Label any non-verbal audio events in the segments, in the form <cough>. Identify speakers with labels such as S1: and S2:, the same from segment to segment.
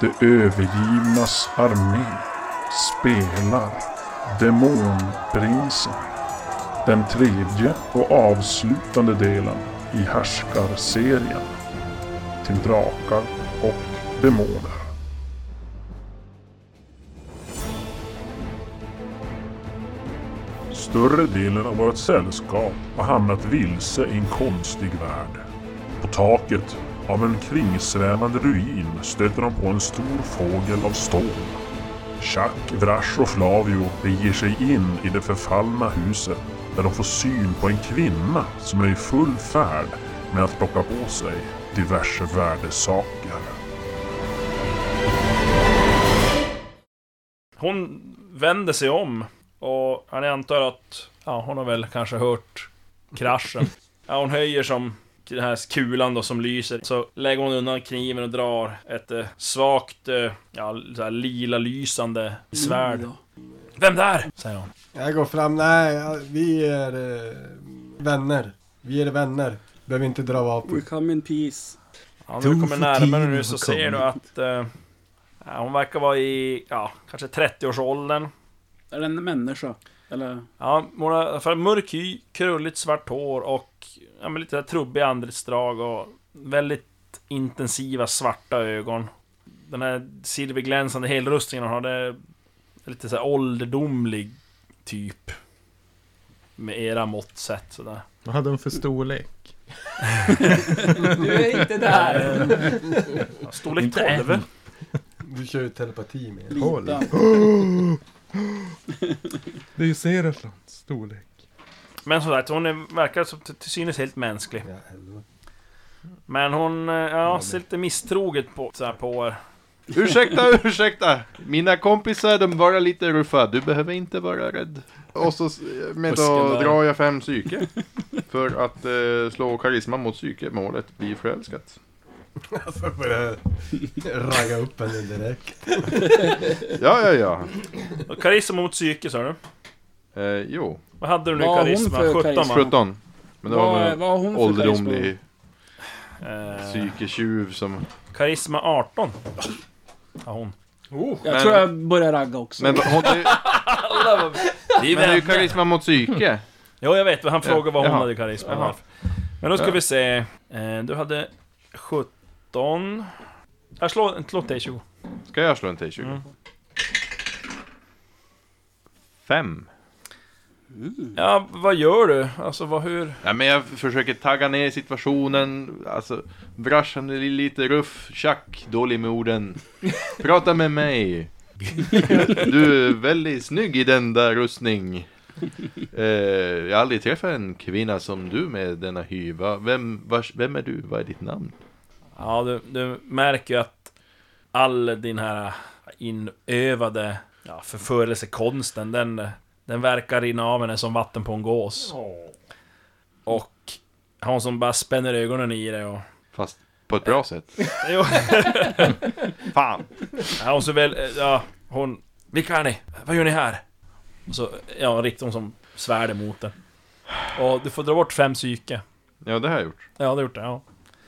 S1: Det övergivnas armé spelar Demonprinsen. Den tredje och avslutande delen i Härskarserien. Till drakar och demoner. Större delen av vårt sällskap har hamnat vilse i en konstig värld. På taket av en kringsvävande ruin stöter de på en stor fågel av stål. Chuck, Vrash och Flavio beger sig in i det förfallna huset där de får syn på en kvinna som är i full färd med att plocka på sig diverse värdesaker.
S2: Hon vänder sig om och han antar att ja, hon har väl kanske hört kraschen. Ja, hon höjer som den här kulan då som lyser. Så lägger hon undan kniven och drar ett eh, svagt, eh, ja, så här lila lysande svärd.
S3: Mm.
S2: Vem där? Säger hon.
S4: Jag går fram, nej, ja, vi är eh, vänner. Vi är vänner. Behöver inte dra
S3: We
S4: vapen.
S3: come in peace.
S2: Ja, när du kommer närmare nu så
S5: Tofutino
S2: ser du att eh, ja, hon verkar vara i, ja, kanske 30-årsåldern.
S3: Är det en människa? Eller?
S2: Ja, hon har för mörk hy, krulligt svart hår och ja, men lite där trubbiga andetsdrag och väldigt intensiva svarta ögon. Den här silverglänsande helrustningen hon har, det är lite så här ålderdomlig typ. Med era mått sett sådär.
S5: Vad hade de för storlek?
S6: Du är
S3: <laughs>
S6: inte där.
S2: Ja, Storlek
S5: Inte än.
S2: 12.
S4: Du kör ju telepati med. henne.
S5: Håll.
S3: Lita.
S5: Det är ju Serafrans storlek.
S2: Men som sagt, hon är, verkar som till till synes helt mänsklig.
S4: Ja, helvete.
S2: Men hon, eh, ja, ser lite misstroget på, så här på er.
S7: Ursäkta, <laughs> ursäkta! Mina kompisar, de var lite ruffa. Du behöver inte vara rädd. Och så, s- men då
S2: Husken där.
S7: drar jag fem psyke. För att eh, slå karisma mot psyke. Målet blir förälskat.
S4: Alltså börjar ragga upp henne direkt.
S7: Ja, ja, ja.
S2: Och Karisma mot psyke sa du?
S7: Eh, jo.
S2: Vad hade du nu i
S3: Vad har hon
S2: karisma?
S3: för
S2: 17
S3: karisma?
S2: va?
S7: 17. Men det var
S3: Vad,
S7: väl
S3: vad har hon
S7: en
S3: för karisma?
S7: ålderdomlig
S2: Eh,
S7: psyketjuv som...
S2: karisma 18. Ja, hon.
S3: Jag
S7: Men-
S3: tror jag börjar ragga också.
S7: Men,
S3: <laughs>
S7: hon, det,
S2: Det är
S7: men det är
S2: väl...
S7: ju karisma mot psyke.
S2: Jo, jag vet. men Han frågade vad hon
S7: Jaha.
S2: hade i karisma.
S7: Jaha.
S2: Men då ska
S7: Ja.
S2: vi se. Eh, du hade 17. Jag slår en slå T20.
S7: Ska jag slå en T20?
S2: Mm.
S7: Fem.
S2: Ja, vad gör du? Alltså, vad, hur?
S7: Ja, men jag försöker tagga ner situationen, alltså Brash han är lite ruff, tjack, dålig med orden. Prata med mig. Du är väldigt snygg i den där rustning. Eh, jag har aldrig träffat en kvinna som du med denna hy. Va, vem, vars, vem är du? Vad är ditt namn?
S2: Ja, du, du märker ju att all din här inövade ja, förförelsekonsten, den, den verkar rinna av henne som vatten på en gås. Och hon som bara spänner ögonen i dig och...
S7: Fast på ett bra sätt.
S2: Jo,
S7: Fan!
S2: ja, hon så väl... eh, Ja, hon... Vilka är ni? Vad gör ni här? Och så, ja, riktar hon som svärd emot den. Och du får dra bort fem psyke.
S7: Ja, det har jag gjort.
S2: Ja, det har gjort det, ja.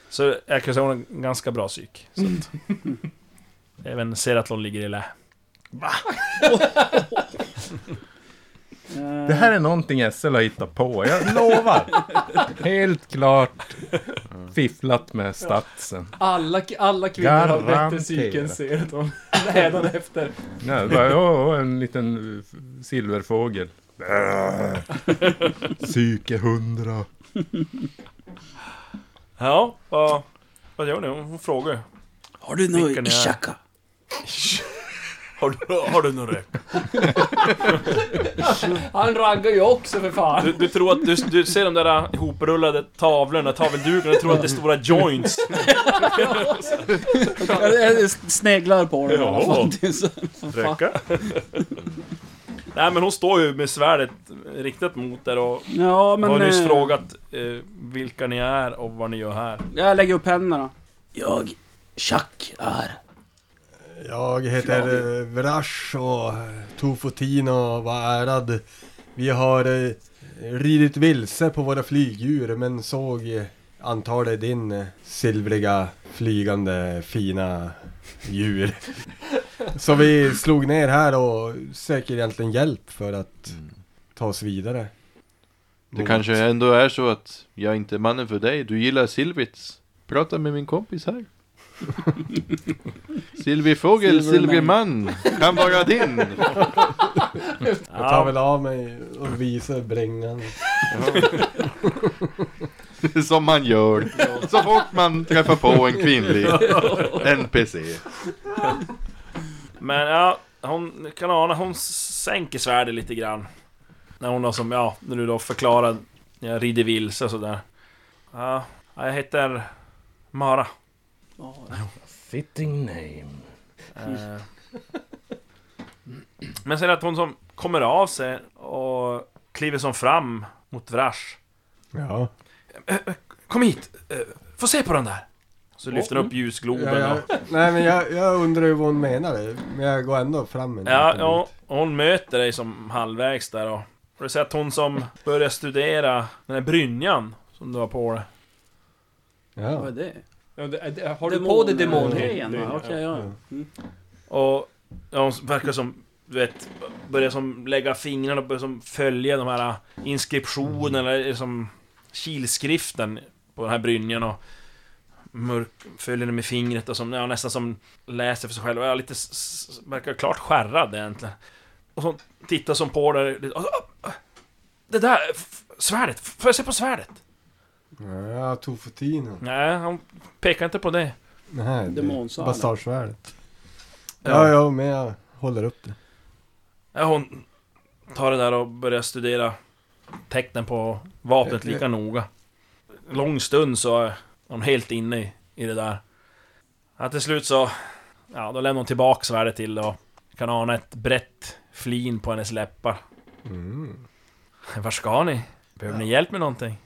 S2: Så jag kan säga hon har en ganska bra psyk. Så att, <laughs> även Seratlon ligger i lä.
S3: Eh,
S5: Det här är någonting SL har hittat på, jag lovar. <laughs> Helt klart fifflat med statsen.
S6: Alla, alla kvinnor har bättre
S5: Garanterat.
S6: psyke
S3: <laughs>
S6: än Seraton. Hädanefter.
S5: Nej, det bara, åh, åh, en liten eh, silverfågel. Äh. <laughs> Psyke hundra.
S2: Ja, vad, vad gör ni? Hon frågar ju.
S3: Har du
S2: Vilken
S3: något
S2: är-
S3: ishaka?
S2: Har du, har du någon rök?
S6: Han raggar ju också för
S2: Du,
S6: fan.
S2: du tror att, du, du ser de där äh, ihoprullade tavlorna, taveldukarna, du tror att det är stora <laughs> joints.
S3: Jag, jag sneglar på den. i alla fall. Det är <laughs> så-
S2: Röka? Nej men hon står ju med svärdet riktat mot er och
S3: Ja, men...
S2: har nyss
S3: eh,
S2: frågat eh, vilka ni är och vad ni gör här.
S3: Jag lägger upp händerna. Jag, Chuck, är...
S4: Jag heter eh, Vrash och Tofotino och var ärad. Vi har eh, ridit vilse på våra flygdjur men såg eh, antar det din eh, silvriga flygande fina djur. Som vi slog ner här och söker egentligen hjälp för att ta oss vidare.
S7: Det kanske ändå är så att jag inte är mannen för dig. Du gillar Silvits. Prata med min
S2: <laughs>
S7: kompis här. Silvifågel,
S3: Silverman.
S7: Silverman, kan vara din.
S4: Jag tar
S2: Ja,
S4: väl av mig och visar brängan.
S7: Som man gör. Så fort man träffar på en kvinnlig NPC.
S2: men ja, hon, Kanana, hon sänker svärdet lite grann. När hon då som, ja, när du då förklarar, jag rider vilse och sådär. Ja, jag heter Mara.
S5: Fitting name.
S2: Eh. Men sen att hon som kommer av sig och kliver som fram mot Vrash.
S4: Ja.
S2: Kom hit! eh, Få se på den där! Så lyfter hon upp ljusgloben
S4: Ja,
S2: och...
S4: jag, nej men jag, jag undrar ju vad hon menade. Men jag går ändå fram en
S2: Ja,
S4: liten
S2: ja,
S4: bit.
S2: och hon möter dig som halvvägs där och... Och du säger att hon som börjar studera den här brynjan som du har på dig.
S3: Vad
S4: ja.
S3: är det?
S6: Ja, det- det- Har du
S3: Demon-
S6: på dig demonhyn?
S3: grejen, va? Okej, ja.
S4: Ja.
S3: Mm.
S2: Och ja, hon verkar som, du vet, börjar som lägga fingrarna och börjar som följa de här inskriptionerna, eller som kilskriften på den här brynjan och mörk, följer den med fingret och som, ja, nästan som läser för sig själv. Ja, lite, s- s- verkar klart skärrad egentligen. Och så tittar som på där, lite, och, och, det där f- svärdet, får jag se på svärdet?
S4: Ja, Tofotina.
S2: Nej, han pekar inte på det.
S4: Nej, det är
S3: Demonsalen.
S4: bastarsvärdet. Ja, ja, men jag håller upp det.
S2: Ja, Eh, hon tar det där och börjar studera tecknen på vapnet
S4: Eh,
S2: lika noga. Lång stund så är hon helt inne i- i det där. Ja, till slut så... Ja, då lämnar hon tillbaka svärdet till och kan ana ett brett flin på hennes läppar.
S4: Mm.
S2: Var ska ni? Behöver ni hjälp med någonting?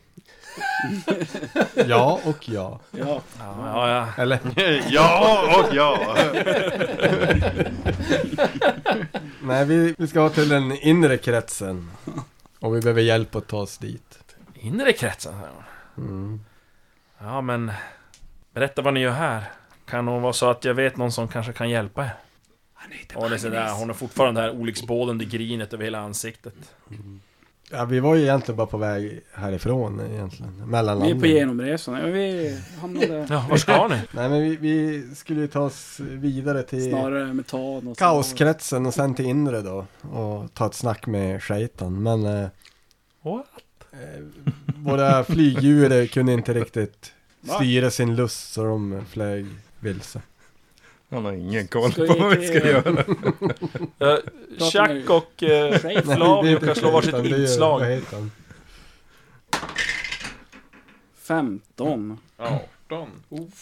S4: Ja och ja.
S3: Ja.
S2: Ja, ja, ja.
S4: Eller?
S7: Ja och ja.
S4: Nej, vi, vi ska till den inre kretsen. Och vi behöver hjälp att ta oss dit.
S2: Inre kretsen, säger hon.
S4: Mm.
S2: Ja, men... Berätta vad ni gör här. Kan hon vara så att jag vet någon som kanske kan hjälpa er? Och det är sådär, hon har fortfarande det här olycksbådande grinet över hela ansiktet.
S4: Ja, vi var ju egentligen bara på väg härifrån egentligen.
S3: Vi är på
S4: Mellanlandet.
S3: genomresan. Ja, vi
S4: <laughs>
S3: hamnade
S2: Ja, var ska ni?
S4: Nej, men vi, vi skulle ju ta oss vidare till
S3: snarare metan och så.
S4: kaoskretsen och sen till inre då. Och ta ett snack med Shaitan. Men eh,
S2: What?
S4: eh, våra flygdjur kunde inte riktigt
S3: Va?
S4: styra sin lust så de flög vilse.
S5: Han har ingen koll
S3: Ska
S5: på
S3: vi
S5: vad vi
S3: till-
S5: ska göra.
S2: <laughs> Eh, Chuck och eh,
S3: Schweiz.
S2: Flavio
S4: inte
S2: kan slå varsitt
S4: Shaitan, det är-
S2: inslag.
S4: vad heter han?
S3: 15.
S7: 18.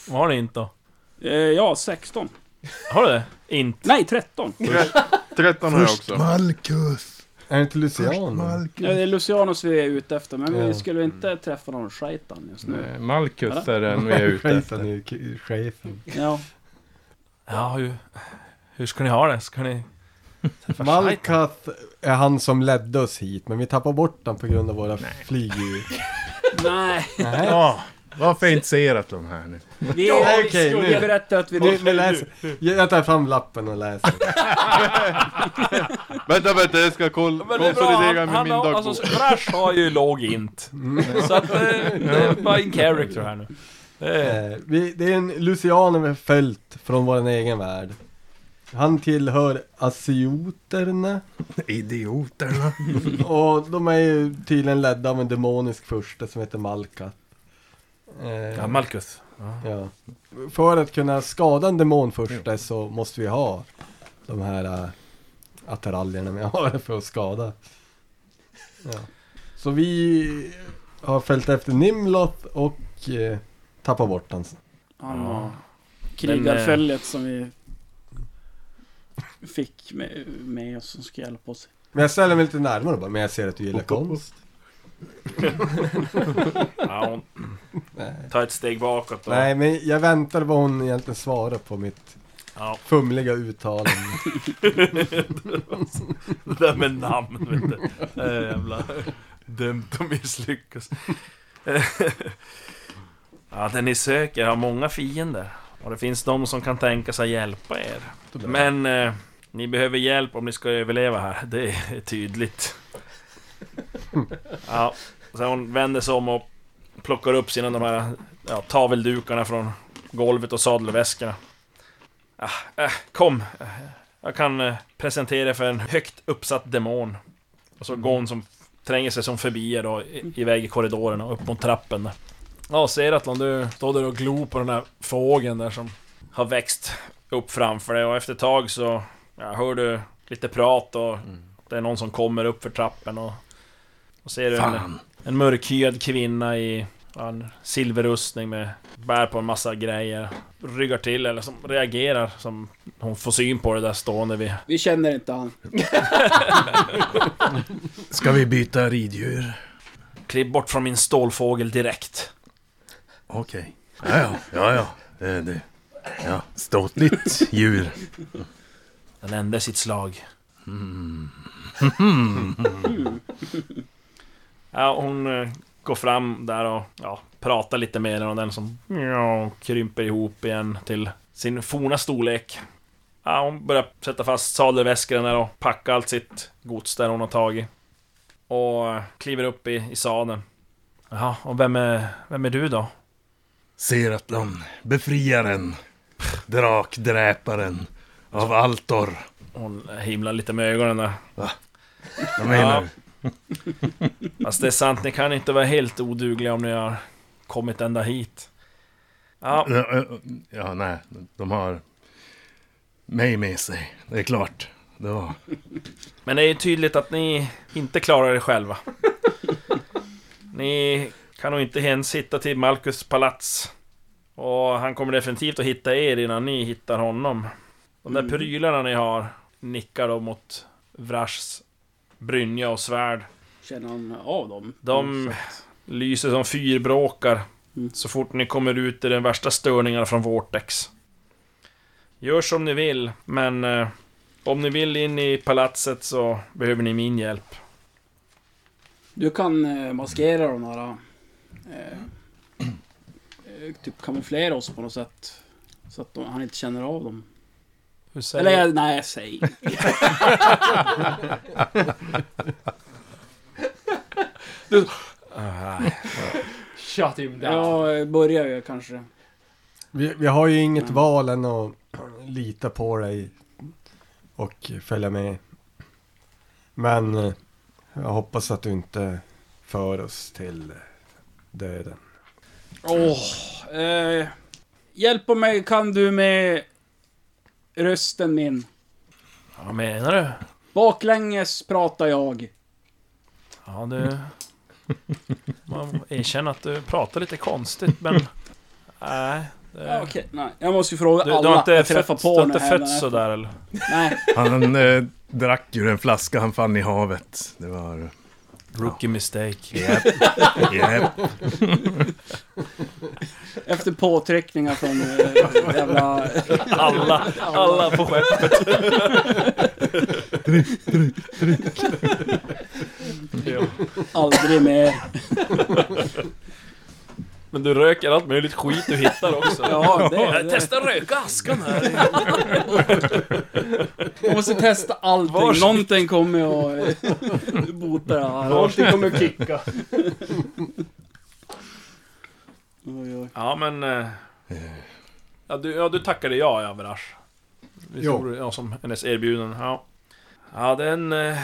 S2: Vad har ni inte då?
S3: Eh, ja, 16.
S2: Har du det? Inte?
S3: Nej, 13.
S7: 13 har jag också.
S5: Malkus.
S4: Är det inte Luciano?
S3: Ja, det är Lucianus vi är ute efter, men
S4: Ja.
S3: vi skulle inte träffa någon shaitan just nu.
S5: Eh, Malkus är den vi är ute
S4: Shaitan
S5: efter.
S4: är ju chefen.
S3: Ja.
S2: Ja, hur, hur ska ni ha det? Ska ni... träffa Schweiz?
S4: Malkath är han som ledde oss hit, men vi tappar bort honom på grund av våra flygdjur. <laughs>
S3: Nej,
S4: Nej.
S5: Ja, varför har jag inte serat de här nu?
S3: vi,
S4: Ja,
S3: vi,
S4: okej, nu.
S3: berättar att vi...
S4: Nu, nu läser. Jag tar fram lappen och läser.
S7: Vänta, vänta, jag ska koll-
S2: Men det är bra,
S7: konsolidera
S2: han,
S7: med
S2: han
S7: min Mm.
S2: har,
S7: dagbok.
S2: alltså, Brash har ju låg int. Så att eh, det är bara in character här nu. Eh,
S4: Eh, vi, det är en Luciano vi har följt från vår egen värld. Han tillhör Asioterna
S5: Idioterna.
S4: och de är ju tydligen ledda av en demonisk furste som heter Malkat. Eh,
S2: ja, Malkus.
S4: Ja. För att kunna skada en demonfurste så måste vi ha de här äh, attiraljerna vi har för att skada. Ja. Så vi har följt efter Nimloth och eh, tappat bort hans.
S3: Han var
S2: Men,
S4: eh,
S3: krigarföljet som vi fick med, med oss som ska hjälpa oss.
S4: Men jag ställer mig lite närmare bara, men jag ser att du gillar konst.
S2: Ja, hon tar ett steg bakåt och...
S4: Nej, men jag väntar vad hon egentligen svarar på mitt
S2: Ja.
S4: fumliga uttalande.
S2: Det <laughs> där med namn, vet du. Det är jävla dömt att <laughs> misslyckas. Eh, Ja, den ni söker har många fiender. Och det finns de som kan tänka sig hjälpa er. Men eh, ni behöver hjälp om ni ska överleva här. Det är tydligt. Ja, så hon vänder sig om och plockar upp sina de här ja, taveldukarna från golvet och sadelväskorna. Ah, eh, kom, Eh, jag kan eh, presentera er för en högt uppsatt demon. Och så går hon som tränger sig som förbi er då, i- iväg i korridoren och upp mot trappen där. Ja, ser att om du står där och glor på den här fågeln där som har växt upp framför dig och efter ett tag så ja, hör du lite prat och det är någon som kommer upp för trappen och, och ser du en,
S3: Fan.
S2: en mörkhyad kvinna i ja, en silverrustning med bär på en massa grejer. Ryggar till eller som reagerar som hon får syn på det där stående vid.
S3: Vi känner inte han.
S8: Ska vi byta riddjur?
S2: Kliv bort från min stålfågel direkt.
S8: Okej. Ja, ja, ja, ja. Det är det. Ja, ståtligt djur.
S2: Den ände sitt slag. <laughs> ja, hon eh, går fram där och ja, pratar lite med den och den som ja, krymper ihop igen till sin forna storlek. Ja, hon börjar sätta fast sadelväskorna där och packa allt sitt gods där hon har tagit. Och eh, kliver upp i, i sadeln. Jaha, och vem är, vem är du då?
S8: Seratlon, befriaren, drakdräparen av Altor.
S2: Hon himlar lite med ögonen där.
S8: Vad menar du?
S2: <laughs> Fast det är sant, ni kan inte vara helt odugliga om ni har kommit ända hit. Ja,
S8: Ja, ja, nej, de har mig med sig. Det är klart. Det var...
S2: men det är ju tydligt att ni inte klarar er själva. Ni kan nog inte ens hitta till Malcus palats. Och han kommer definitivt att hitta er innan ni hittar honom. De där prylarna ni har nickar då mot Vrashs brynja och svärd.
S3: Känner han av dem?
S2: De lyser som fyrbråkar
S3: Mm.
S2: så fort ni kommer ut i den värsta störningarna från Vortex. Gör som ni vill, men eh, om ni vill in i palatset så behöver ni min hjälp.
S3: Du kan eh, maskera de här... Eh, eh, typ kamouflera oss på något sätt. Så att de, han inte känner av dem.
S2: Hur säger
S3: Eller jag- nej, säg. <laughs>
S6: Shut him down.
S3: Jag börjar ju kanske.
S4: Vi, vi har ju inget
S3: Mm.
S4: val än att lita på dig och följa med. Men eh, jag hoppas att du inte för oss till döden.
S3: Åh, eh, hjälp mig kan du med rösten min.
S2: Vad menar du?
S3: Baklänges pratar jag.
S2: Ja,
S3: Mm.
S2: du... Man erkänner att du pratar lite konstigt,
S3: <laughs>
S2: men... Nej. det-
S3: Ja, Okej, nej. Jag måste ju fråga
S2: Du,
S3: alla
S2: du har inte
S3: jag träffar
S2: fötts
S3: på
S2: du har inte
S3: när jag
S2: fötts
S3: lämnar.
S2: sådär eller?
S3: Nej,
S8: Han eh, drack ur en flaska han fann i havet. Det var...
S2: Rookie mistake.
S8: Japp. Japp.
S3: efter påtryckningar från eh, jävla...
S2: <laughs> Alla, alla på skeppet. Ja.
S3: Aldrig mer.
S2: Men du röker allt möjligt skit du hittar också.
S3: Ja, det är
S2: Jag
S3: det.
S2: testar röka askan här.
S3: Jag måste testa allting.
S2: Varsågod.
S3: Någonting kommer jag eh, bota det här.
S6: Allting kommer kicka.
S3: Oj, oj.
S2: Ja men... eh, Ja du, ja, du tackade ja, ja Verash. Vi
S4: Jo.
S2: tog det, ja, som hennes erbjudande. Ja, ja det är en, eh,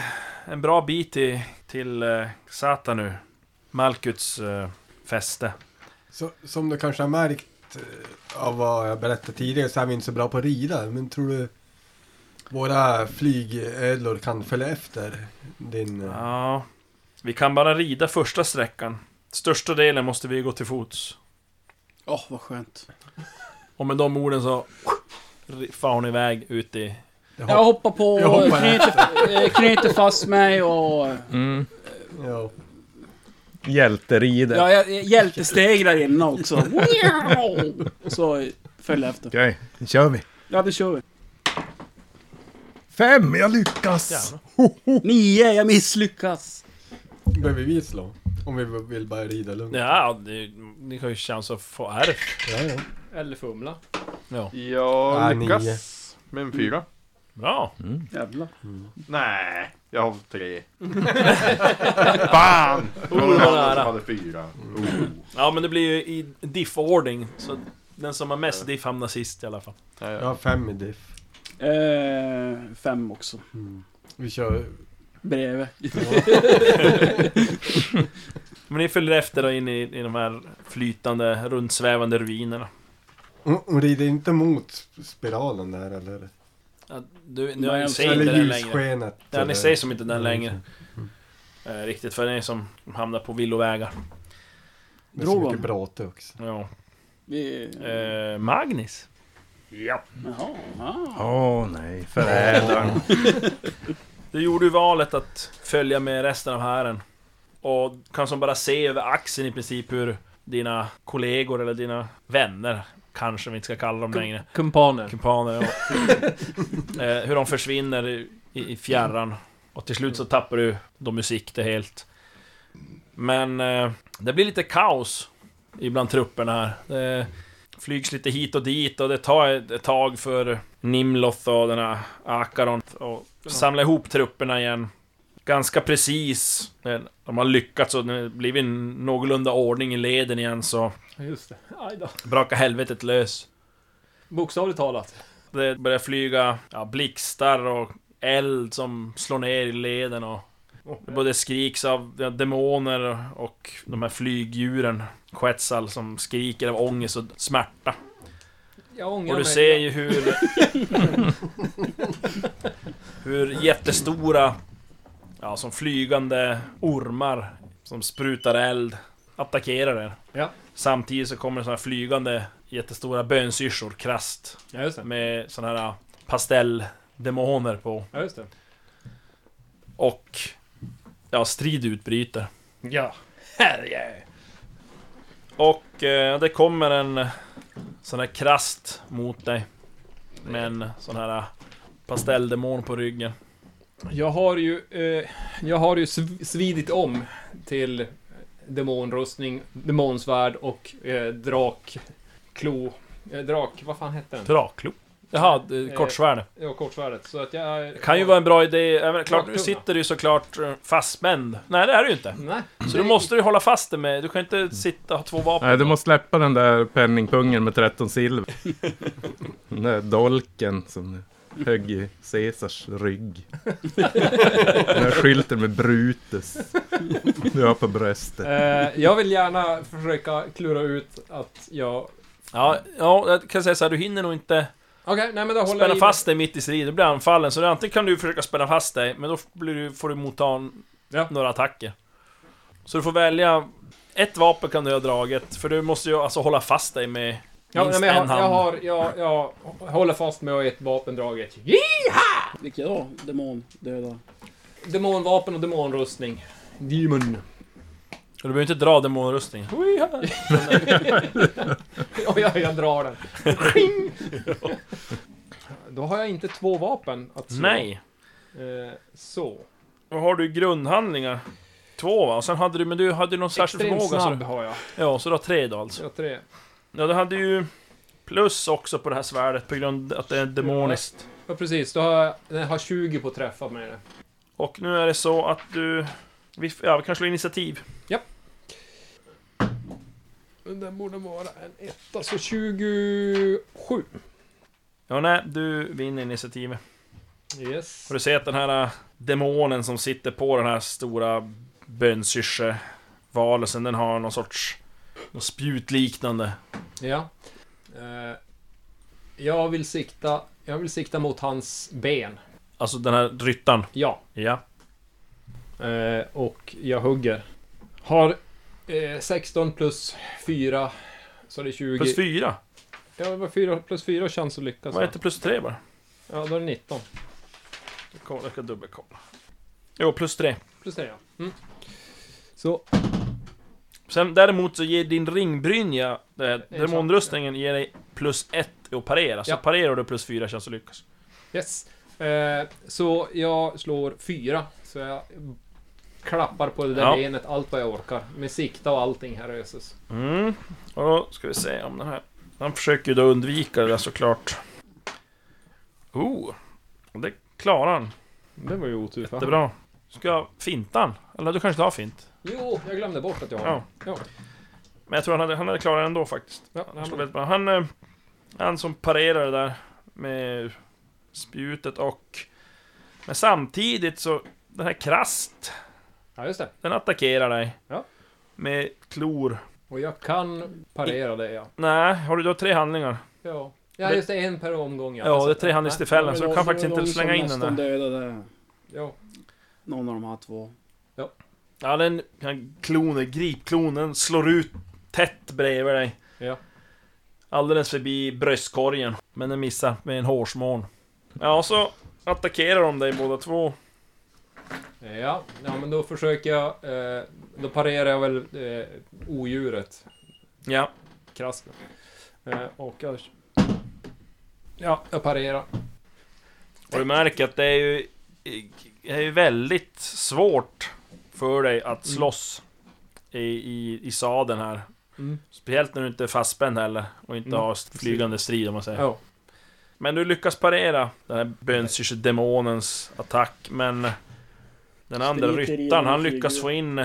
S2: en bra bit till, till eh, Zata nu. Malkuts eh, fäste.
S4: Så, som du kanske har märkt eh, av vad jag berättade tidigare så är vi inte så bra på att rida. Men tror du våra flygödlor kan följa efter din... eh,
S2: Ja. Vi kan bara rida första sträckan. Största delen måste vi gå till fots.
S3: Åh, vad skönt.
S2: Och med de orden så... Far hon iväg ut i...
S3: Jag hoppar på
S4: Jag
S3: och
S4: hoppar
S3: knyter, eh, knyter fast mig och...
S5: Mm.
S4: eh, Ja.
S5: Hjälterider.
S3: Ja, jag jag hjältesteg där inne också.
S2: <laughs>
S3: Wow! Så följer jag efter.
S8: Okej, nu kör vi.
S3: Ja, det kör vi.
S8: Fem, jag lyckas!
S2: Jävlar.
S3: Nio, jag misslyckas.
S4: Behöver vi slå? Om vi vill bara rida lugnt.
S2: Ja, det, ni har ju chans att få ärr.
S4: Ja, ja.
S6: Eller fumla.
S2: Ja.
S7: Jag
S4: Ah,
S7: lyckas med en fyra.
S2: Bra.
S3: Jävlar.
S7: Nej, jag har <laughs> tre. Fan! Oh, det var
S2: nära.
S7: Hade fyra. Oh.
S2: Ja, men det blir ju i diff-ordning. Så den som har mest diff hamnar sist i alla fall.
S7: Ja,
S4: Jag
S7: ja.
S4: har fem i diff.
S3: Eh, fem också.
S4: Vi kör...
S3: Bredvid. <laughs>
S2: Men ni följer efter då in i, i de här flytande, rundsvävande ruinerna.
S4: Hon hon rider inte mot spiralen där eller?
S2: Ja, du, nu
S3: Nej,
S2: har
S3: alltså,
S2: ser inte
S4: eller
S2: den längre.
S4: ljusskenet?
S2: Ja, ni
S4: eller-
S2: ser som inte den
S4: Mm.
S2: längre. Eh, riktigt, för ni är som hamnar på villovägar.
S4: Det är så
S3: Drogon.
S4: mycket bråte också.
S2: Ja.
S3: Vi...
S2: Eh, Magnus.
S3: Jaha. Ah.
S8: Åh nej, förrädaren.
S2: Du gjorde ju valet att följa med resten av hären. Och kan som bara se över axeln i princip hur dina kollegor eller dina vänner, kanske vi inte ska kalla dem längre,
S6: Kumpaner.
S2: kumpaner, ja. eh, hur de försvinner i, i fjärran. Och till slut så tappar du dem ur sikte helt. Men eh, det blir lite kaos ibland trupperna här. Det flygs lite hit och dit och det tar ett tag för Nimloth och den här Akaron att samla ihop trupperna igen. Ganska precis. eh, De har lyckats och det blir någorlunda ordning i leden igen så
S6: Just det. Aj då.
S2: brakar helvetet lös.
S6: Bokstavligt talat.
S2: Det börjar flyga ja, blixtar och eld som slår ner i leden och det både skriks av ja, demoner och de här flygdjuren Quetzal som skriker av ångest och smärta.
S6: Jag ångrar
S2: Och du
S6: mig.
S2: ser ju hur... <laughs> hur jättestora, ja som flygande ormar som sprutar eld attackerar er.
S6: Ja.
S2: Samtidigt så kommer såna här flygande jättestora bönsyrsor krasst
S6: Ja, just det.
S2: med såna här äh, pastelldemoner på.
S6: Ja, just det.
S2: Och... Ja, strid utbryter.
S6: Ja. Herre!
S2: Och eh, det kommer en sån här krast mot dig. Med en sån här äh, pastelldemon på ryggen.
S6: Jag har ju, eh, jag har ju sv- svidit om till demonrustning, demonsvärd och eh, drakklo. Eh, drak, vad fan hette den?
S2: Draklo. Jaha, eh, kortsvärd.
S6: Ja, kortsvärdet. Så att jag...
S2: Det kan ju vara en bra idé, även klart, nu
S6: Raktunga.
S2: sitter du ju såklart eh, fastspänd. Nej, det är du ju inte.
S6: Nej.
S2: Så du måste ju hålla fast dig med, du kan ju inte sitta och ha två vapen.
S5: Nej, du måste släppa den där penningpungen med 13 <laughs> silver. den där dolken som högg i Caesars rygg. den där skylten med Brutus. Du har på bröstet.
S6: Eh, jag vill gärna försöka klura ut att jag... Okej,
S2: Ja, ja, jag kan säga så här, du hinner nog inte
S6: nej men då håller
S2: Spänna
S6: i-
S2: fast dig mitt i striden, du blir anfallen. Så antingen kan du försöka spänna fast dig, men då blir du, får du motta en,
S6: Ja.
S2: några attacker. Så du får välja... Ett vapen kan du ha draget, för du måste ju alltså hålla fast dig med
S6: Ja, nej,
S2: minst
S6: men jag,
S2: en
S6: har,
S2: hand.
S6: jag, har, jag, jag håller fast med ett vapen draget.
S3: Vilket då? Demon. Döda.
S6: Demonvapen och demonrustning. Demon.
S2: Och du behöver inte dra demonrustningen.
S6: Och jag, jag drar den. Ping! Då har jag inte två vapen att slå.
S2: Nej.
S6: Eh, så.
S2: Vad har du i grundhandlingar? Två va? Och sen hade du, men du hade ju någon särskild
S6: Extremt
S2: förmåga.
S6: snabb
S2: Så,
S6: har jag.
S2: ja, så du har tre då alltså.
S6: Jag har tre.
S2: Ja, du hade ju plus också på det här svärdet på grund av att det är demoniskt.
S6: Ja, precis. Då har jag, jag har 20 på träffar med det.
S2: Och nu är det så att du... Vi, ja, vi kan slå initiativ.
S6: Den borde vara en etta, så 27.
S2: Ja, nej, du vinner initiativet.
S6: Yes.
S2: Och du ser att den här äh, demonen som sitter på den här stora bönsyrsche-valelsen, den har någon sorts något spjutliknande.
S6: Ja. Eh, jag vill sikta... Jag vill sikta mot hans ben.
S2: Alltså den här ryttaren.
S6: Ja.
S2: Ja.
S6: Eh, och jag hugger. Har eh, 16 plus 4. Så det är 20.
S2: Plus fyra.
S6: Ja, det var 4 plus 4 chans att lyckas.
S2: Var det inte plus tre bara?
S6: Ja, då är det 19.
S2: Jag koll- Jag ska dubbelkolla. Jo, plus tre.
S6: Plus 3 ja. Mm. Så,
S2: Sen däremot så ger din ringbrynja, eh,
S6: sant,
S2: demonrustningen, ger dig plus ett att parera. Så
S6: Ja.
S2: parerar du plus fyra känns det lyckas.
S6: yes. Eh, så jag slår 4. Så jag klappar på det där
S2: Ja.
S6: benet allt vad jag orkar. Med sikta och allting här öses.
S2: Mm. Och då ska vi se om den här Han försöker ju då undvika det där såklart. Oh, det klarar han.
S6: Det var ju otur. va?
S2: Jättebra. Ska jag finta han? Eller du kanske inte har fint?
S6: Jo, jag glömde bort att jag har
S2: Ja.
S6: ja.
S2: Men jag tror han hade, han hade klarat det ändå faktiskt.
S6: ja,
S2: Han slog
S6: han,
S2: väldigt bra. Han, eh, han som parerade där med spjutet och... Men samtidigt så, den här Krast,
S6: ja, just det.
S2: den attackerar dig.
S6: Ja.
S2: Med klor.
S6: Och jag kan parera det, ja.
S2: Nej, har du då tre handlingar?
S6: Ja, ja just det. En per omgång, ja.
S2: Ja, det är tre handlingstillfällen, så
S3: Det
S2: du
S3: var-
S2: kan
S3: det var
S2: faktiskt inte
S3: de som
S2: slänga in den
S3: nästan
S2: där.
S3: dödade
S6: Ja,
S3: någon av de här två.
S2: Ja, den den klonen, gripklonen, slår ut tätt bredvid dig.
S6: Ja.
S2: Alldeles förbi bröstkorgen. Men den missar med en hårsmån. Ja, och så attackerar de dig båda två.
S6: Ja, ja men då försöker jag... Eh, då parerar jag väl eh, odjuret,
S2: Ja.
S6: krasst. Eh, och jag... Ja, jag parerar.
S2: Och du märker att det är ju... Det är ju väldigt svårt för dig att slåss i, i, i sadeln här.
S6: Mm.
S2: Speciellt när du inte är fastspänd heller och inte
S6: Mm.
S2: har flygande strid om man säger.
S6: Ja.
S2: Men du lyckas parera den här bönsyrsdemonens attack, men den andra
S3: Spriter i
S2: ryttaren,
S3: den
S2: han lyckas
S3: flyger.
S2: få in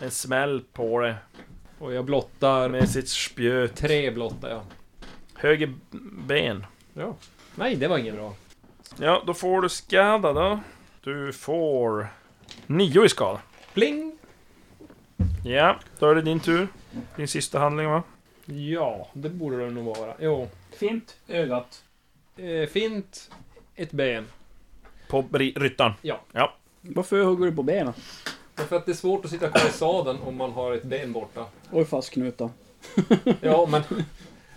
S2: en smäll på det
S6: Och jag blottar...
S2: med sitt spjut.
S6: Tre blottar jag.
S2: Höger ben.
S6: Ja. Nej, det var inget bra.
S2: Ja, då får du skada då. Du får nio i skada.
S6: Pling!
S2: Ja, då är det din tur. Din sista handling va?
S6: Ja, det borde det nog vara. Jo.
S3: Fint ögat.
S6: Eh, fint. Ett ben.
S2: På ri- ryttaren.
S3: Varför hugger du på benen?
S6: Därför att det är svårt att sitta kvar i sadeln om man har ett ben borta.
S3: Oj, fastknuta.
S6: Ja, men...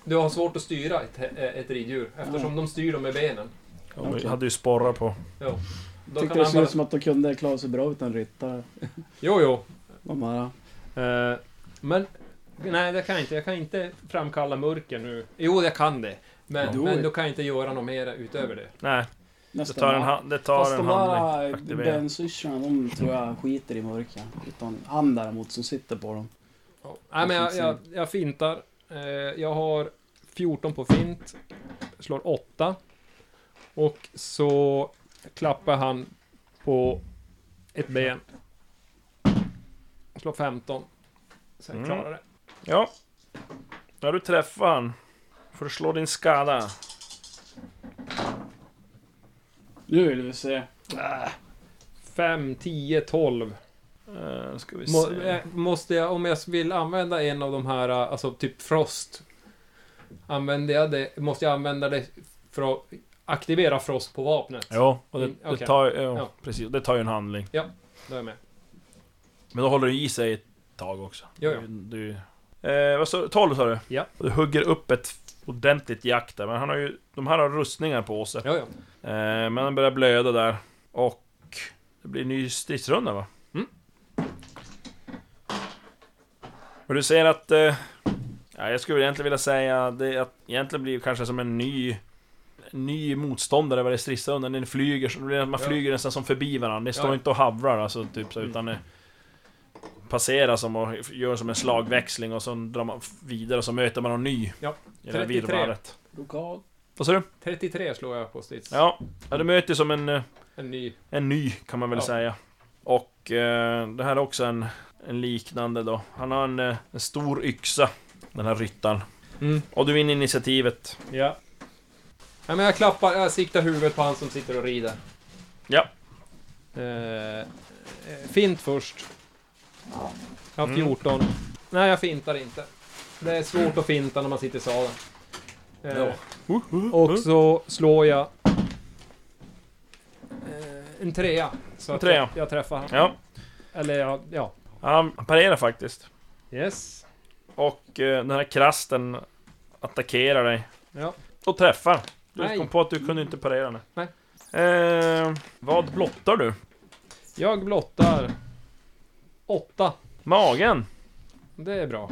S6: Du har svårt att styra ett, eh, ett riddjur eftersom de styr dem med benen.
S2: Han
S3: Okej.
S2: hade ju sporrar på.
S6: Då
S3: Tyckte
S6: kan
S3: det
S6: han
S3: såg
S6: bara...
S3: ut som att de kunde klara sig bra utan ryttare.
S6: Jo, jo.
S3: De här.
S6: Eh, men... Nej, det kan jag inte. Jag kan inte framkalla mörker nu. Jo, jag kan det. Men,
S3: Do
S6: men
S3: it.
S6: då kan jag inte göra något mer utöver det.
S2: Nej, det
S3: Nästan
S2: tar en,
S3: va?
S2: ha- det tar
S3: Fast
S2: en
S3: de
S2: handling.
S3: här
S2: aktivera.
S3: bönsyrsorna, de tror jag skiter i mörkret. Utan han däremot som sitter på dem.
S6: Nej, men jag, jag, jag fintar. Eh, jag har 14 på fint. Slår 8. Och så klappar han på ett ben. Slår 15. Sen
S2: Mm.
S6: klarar det.
S2: Ja. När du träffar han får du slå din skada.
S3: Nu vill vi se.
S6: 5, 10, 12.
S2: Uh, ska vi
S6: Må,
S2: se.
S6: eh, måste jag, om jag vill använda en av de här, eh, alltså typ Frost. Använder jag det, måste jag använda det för att aktivera Frost på vapnet?
S2: Ja, och det,
S6: Mm, okej.
S2: det, tar, ja,
S6: Ja.
S2: Precis, det tar ju en handling.
S6: Då är jag med.
S2: Men då håller du i sig ett tag också.
S6: Jo, jo.
S2: Du, eh, vad sa 12 sa du?
S6: Ja.
S2: Och Du hugger upp ett ordentligt jack där, men han har ju... De här har rustningar på sig.
S6: Ja, ja.
S2: Eh, men han börjar blöda där. Och... Det blir en ny stridsrunda va?
S6: Mm.
S2: Och du ser att... Eh, ja, jag skulle egentligen vilja säga det att egentligen blir det kanske som en ny... En ny motståndare varje stridsrunda, den flyger, så det blir att man
S6: Ja.
S2: flyger nästan som förbi varandra. Det står
S6: Ja, ja.
S2: inte och havrar alltså, typ så, utan det passerar som och gör som en slagväxling och så drar man vidare och så möter man någon ny.
S6: Ja.
S2: I det här
S6: 33.
S2: virrvarret.
S3: Lokal.
S2: Vad sa du?
S6: 33 slår jag på strids.
S2: Ja, ja du möter som en... eh,
S6: En ny.
S2: en ny kan man väl
S6: Ja.
S2: säga. Och eh, det här är också en, en liknande då. Han har en, eh, en stor yxa, den här ryttaren.
S6: Mm.
S2: Och du vinner initiativet.
S6: Ja. ja men jag klappar, jag siktar huvudet på han som sitter och rider.
S2: Ja.
S6: Eh, eh, fint först. Jag har
S2: Mm.
S6: 14. Nej, jag fintar inte. Det är svårt att finta när man sitter i sadeln. Eh,
S2: Ja.
S6: Och så slår jag... Eh, en trea. Så
S2: En
S6: att
S2: trea.
S6: Jag, jag träffar han.
S2: Ja,
S6: Eller jag, ja.
S2: han parerar faktiskt.
S6: Yes.
S2: Och eh, den här krasten attackerar dig.
S6: Ja.
S2: Och träffar. Du
S6: Nej.
S2: kom på att du kunde inte parera den.
S6: Nej.
S2: Eh, vad blottar du?
S6: Jag blottar... Åtta.
S2: Magen?
S6: Det är bra.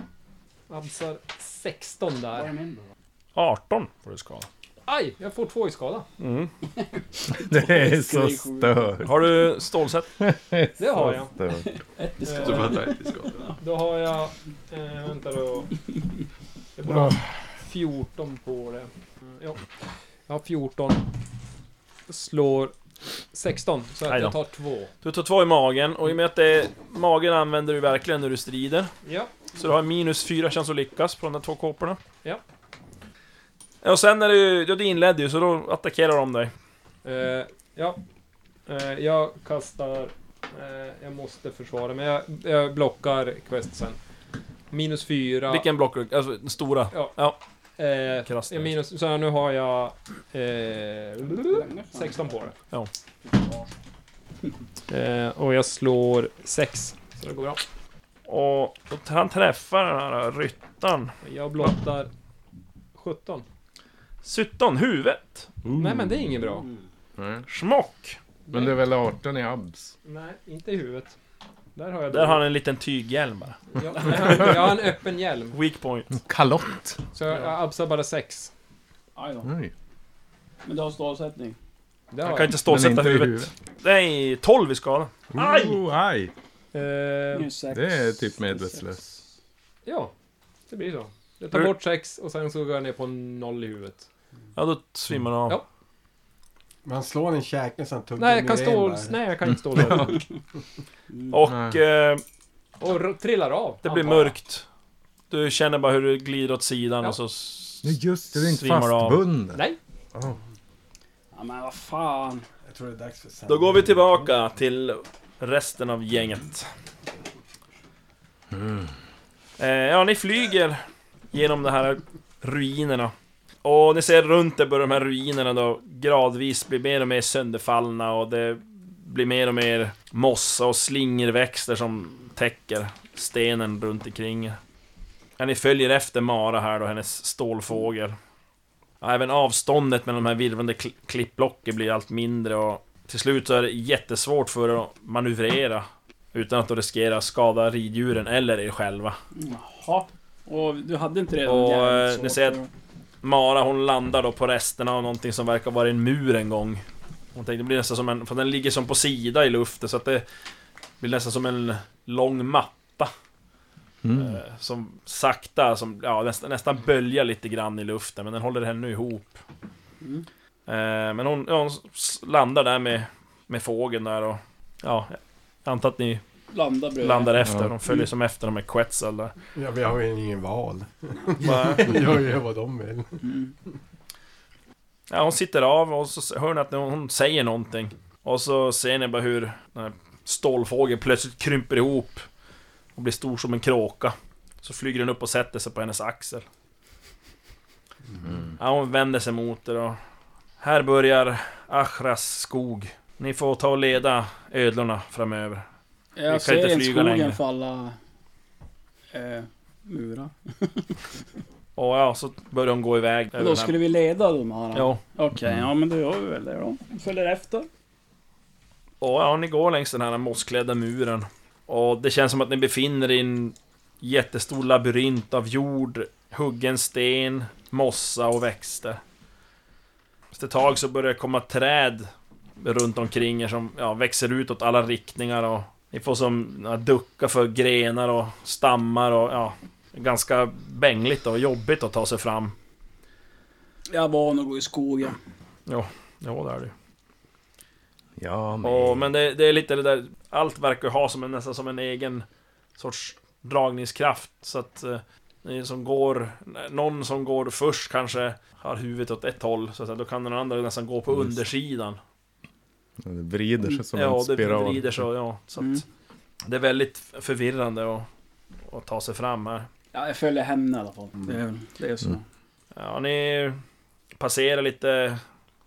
S6: Absar 16
S3: Var är
S6: där.
S3: min då?
S2: 18 får du skada.
S6: Aj! Jag får två i skada.
S5: Det är så
S3: Skrik.
S5: stört.
S2: Har du stålsätt?
S6: Det har jag.
S5: stört.
S3: Ett i
S7: Så
S6: Eh,
S7: bara, nej, det ska.
S6: då har jag... Eh, vänta då. Jag borde ha 14 på det. Mm, Ja, jag har 14. Slår 16, så
S2: Aj
S6: att
S2: då.
S6: jag tar två.
S2: Du tar två i magen, och i och med att det är magen använder du verkligen när du strider.
S6: Ja,
S2: Så du har minus fyra chans att lyckas på de där två kåporna.
S6: Ja.
S2: Ja, Och sen är det ju, ja, du inledde ju, så då attackerar de dig.
S6: eh, ja. Eh, jag kastar... Eh, jag måste försvara, men jag, jag blockar quest sen. Minus 4.
S2: Vilken blockruck? Alltså, den stora.
S6: Eh,
S2: Krasst.
S6: jag minus, så här, nu har jag... Eh, 16 på det.
S2: Ja.
S6: Eh, och jag slår 6. Så det går bra.
S2: Och, och han träffar den här ryttaren.
S6: Jag blottar 17.
S2: 17, huvudet.
S6: Nej men det är inget bra.
S5: Nej.
S2: Smock.
S5: Men det är väl 18 i abs?
S6: Nej, inte i huvudet. Där har jag...
S2: Där har han en liten tyghjälm bara.
S6: jag, jag, har, jag har en öppen hjälm.
S2: Weak point.
S5: Kalott!
S6: Så jag, jag absar bara 6.
S3: Aj då.
S5: Oj.
S3: Men du har stålsättning.
S6: Det
S2: Han
S6: har
S2: kan
S6: jag.
S2: inte
S5: Men
S2: stålsätta
S5: inte i
S2: huvudet.
S5: huvudet.
S2: Nej, 12 i skada. Aj!
S5: Oh, aj!
S6: Eh,
S3: Minus sex.
S5: Det är typ medvetslös.
S6: ja, det blir så. Jag tar
S2: Hur-
S6: bort 6 och sen så går jag ner på noll i huvudet.
S2: Ja, då svimmar han av.
S6: Ja.
S4: Men han slår en i käken så han tuggar
S6: Nej, jag kan
S4: ner en
S6: stå...
S4: där.
S6: Nej, jag kan
S3: <laughs>
S6: inte stå där.
S2: Och eh,
S6: Och r- trillar av.
S2: det blir
S6: antar jag.
S2: mörkt. Du känner bara hur du glider åt sidan
S6: Ja.
S2: och så... s-
S5: Nej just det, det är inte
S2: Svimmar av.
S5: fastbunden.
S6: Nej.
S3: Ja men vad fan.
S4: Jag tror det är dags för Sam.
S2: Då går vi tillbaka till resten av gänget. Eh, ja, ni flyger genom de här ruinerna. Och ni ser runt er börjar de här ruinerna då gradvis bli mer och mer sönderfallna och det blir mer och mer mossa och slingerväxter som täcker stenen runt omkring er. Ja, ni följer efter Mara här då, hennes stålfågel. Ja, även avståndet mellan de här virvande kli- klippblocken blir allt mindre och till slut så är det jättesvårt för er att manövrera Utan att då riskera att skada riddjuren eller er själva
S3: Jaha. Och du hade inte redan
S2: Och,
S3: jävligt
S2: eh,
S3: svårt
S2: ni ser att-
S3: för-
S2: Mara hon landar då på resterna av någonting som verkar vara en mur en gång Hon tänkte det blir nästan som en, för den ligger som på sida i luften så att det Blir nästan som en lång matta
S5: Mm.
S2: eh, Som sakta, som, ja, nästan, nästan böljar lite grann i luften men den håller henne ihop
S3: Mm.
S2: eh, Men hon, ja, hon s- landar där med, med fågeln där och Ja, jag antar att ni
S3: Landa bredvid.
S2: landar efter.
S5: Ja.
S2: De följer som efter de är Quetzal där.
S4: Ja, vi har ju ingen val.
S2: Bara-
S4: <laughs> De gör ju vad de vill.
S3: Mm.
S2: Ja, hon sitter av och så hör ni att hon hon säger någonting. Och så ser ni bara hur den här stålfågeln plötsligt krymper ihop och blir stor som en kråka. Så flyger den upp och sätter sig på hennes axel. Ja, hon vänder sig mot er och... Här börjar Achras skog. Ni får ta och leda ödlorna framöver. kan
S3: Jag
S2: inte
S3: ser en
S2: flyga
S3: skogen
S2: längre.
S3: falla... Eh, mura.
S2: Och ja, så börjar hon gå iväg. över
S3: Då
S2: den här-
S3: skulle vi leda de här?
S2: Ja.
S3: Okej, ja men då gör vi väl det då. Följer efter.
S2: Och ja, ni går längs den här mossklädda muren. Och det känns som att ni befinner er i en jättestor labyrint av jord, huggen sten, mossa och växter. Efter ett tag så börjar det komma träd runt omkring er som ja, växer ut åt alla riktningar och ni får som ja, ducka för grenar och stammar och ja, ganska bängligt och jobbigt att ta sig fram.
S3: Jag är van att gå i skogen.
S2: Ja, det är det.
S5: Ja, men...
S2: Ja, men det, det är lite det där, allt verkar ha som en, nästan som en egen sorts dragningskraft. Så att eh, ni som går, någon som går först kanske har huvudet åt ett håll, så att säga. då kan den andra nästan gå på
S5: Just.
S2: undersidan.
S5: Det vrider sig Mm. som
S2: ja,
S5: en spiral.
S2: det vrider sig, ja. Så att
S3: Mm.
S2: det är väldigt förvirrande att, att ta sig fram här.
S3: Ja, jag följer henne i alla fall. Det, är, det är så.
S5: Mm.
S2: Ja, ni passerar lite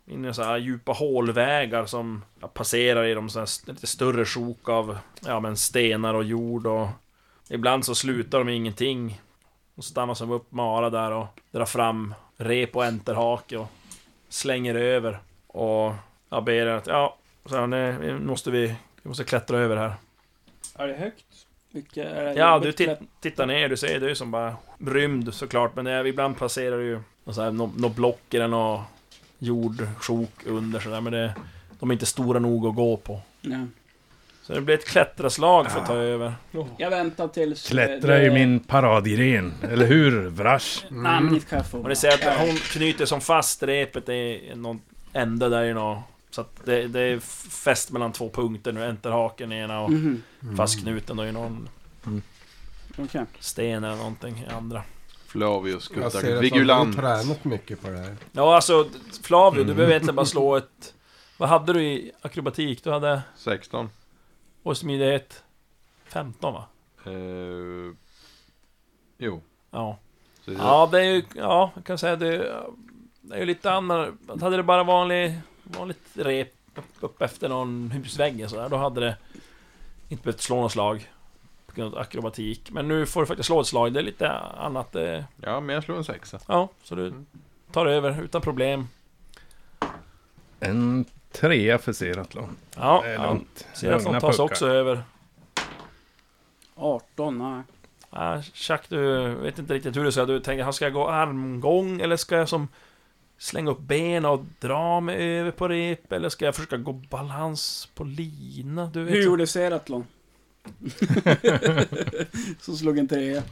S2: in i så här djupa hålvägar som ja, passerar i de så här st- lite större sjok av ja, men stenar och jord och ibland så slutar de i ingenting. Och stannar som upp Mara där och drar fram rep och enterhake och slänger över. Och jag ber er att, ja, så här, nej, nu måste vi, vi måste klättra över här.
S3: Är det högt? Vilka, är det
S2: Ja, du
S3: jobbigt
S2: tit-
S3: klätt-
S2: tittar ner, du ser, det är ju som bara rymd såklart, men det är, ibland passerar det ju något så här, nå- nå block eller något jordsjok under sådär, men det, de är inte stora nog att gå på.
S3: Nej.
S2: Så det blir ett klättraslag för att ta över.
S3: Jag väntar tills... eh,
S8: Klättra är ju
S3: det-
S8: min paradgren, eller hur Vrash?
S4: Mm.
S3: Nej, men inte kan jag få.
S2: Och ni ser att hon knyter som fast repet i någon ände där i någon... Så att det, det är fäst mellan två punkter nu, enterhaken i ena och
S3: Mhm,
S4: Mm.
S2: fastknuten då i någon
S3: okej.
S2: sten eller någonting i andra.
S7: Flavius
S4: Jag
S7: Guttar.
S4: ser att du har
S7: Vigulant.
S4: tränat mycket på det här.
S2: Ja alltså, Flavio, du behöver egentligen bara slå ett... Vad hade du i akrobatik? Du hade...
S7: 16.
S2: Och smidighet? 15 va?
S7: Eh, jo.
S2: Ja.
S7: Så det-
S2: Ja, det är ju... Ja, jag kan säga det... Det är ju lite annorlunda. Hade det bara vanlig, vanligt rep upp, upp efter någon husvägg och sådär, då hade det inte behövt slå något slag. På grund av akrobatik. Men nu får du faktiskt slå ett slag. Det är lite annat. Det,
S7: Ja, men jag slog en sexa.
S2: ja, så du
S8: Mm.
S2: tar över utan problem.
S8: En trea för Seratlon.
S2: Ja,
S8: Det är
S2: ja.
S8: lugnt.
S2: Serafon
S8: Lugna
S2: tas
S8: puckar.
S2: också över.
S3: 18,
S2: Ja,
S3: nej.
S2: Ah, Chuck, du vet inte riktigt hur du ska... Du tänker, han ska gå armgång eller ska jag som slänga upp ben och dra mig över på rep? Eller ska jag försöka gå balans på lina? Du vet
S3: Hur
S2: så-
S3: gjorde Seratlon? Som slog en trea.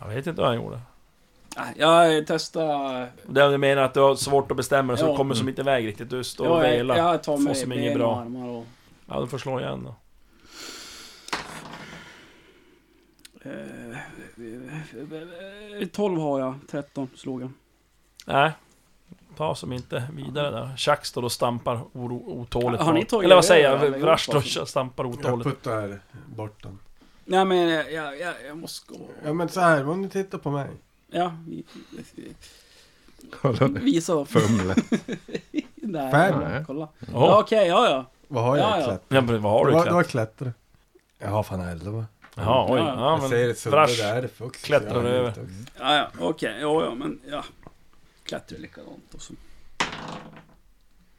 S2: Jag vet inte vad han gjorde.
S3: Nej, Jag testade...
S2: Det är- Du menar att du har svårt att bestämma dig så
S3: Ja.
S2: du kommer som inte iväg riktigt. Du står och
S3: Jag,
S2: velar.
S3: jag,
S2: Ja,
S3: jag tar
S2: Får
S3: mig
S2: som inget
S3: ben
S2: bra.
S3: och armar och...
S2: du får slå igen då.
S3: Eh, 12 eh, har jag, 13 slog jag.
S2: Nej. Ta som inte vidare där. Chuck står och stampar oro, otåligt.
S3: Har ni
S2: bak.
S3: tagit
S2: Eller vad
S3: över
S2: säger
S3: alla
S2: jag?
S3: ihop,
S2: Vrash står
S3: alltså?
S2: och stampar
S4: Jag
S2: otåligt.
S4: puttar bort den.
S3: Nej men jag, jag, jag, jag måste gå.
S4: Ja men så här, om ni tittar på mig.
S3: Ja, vi-
S5: Kolla nu.
S3: visa upp.
S5: Fumle.
S3: Nej,
S4: Fem.
S3: Nej. kolla. Ja,
S2: Ja,
S3: Okej, ja ja.
S4: Vad har jag
S3: Ja,
S4: i
S3: ja.
S4: klätt?
S2: ja, men vad har
S4: Har
S2: du i
S4: du
S2: klätt?
S4: klätt? klättra. Jag har fan elva.
S2: Jaha, oj.
S3: Ja,
S2: Ja,
S4: jag
S2: men...
S4: ser ett sudda
S2: Vrash
S4: där för också. så
S2: klättrar
S4: jag har
S2: över.
S4: lite också.
S3: Ja, ja, okej, ja, ja, men ja. Klättrar likadant och så.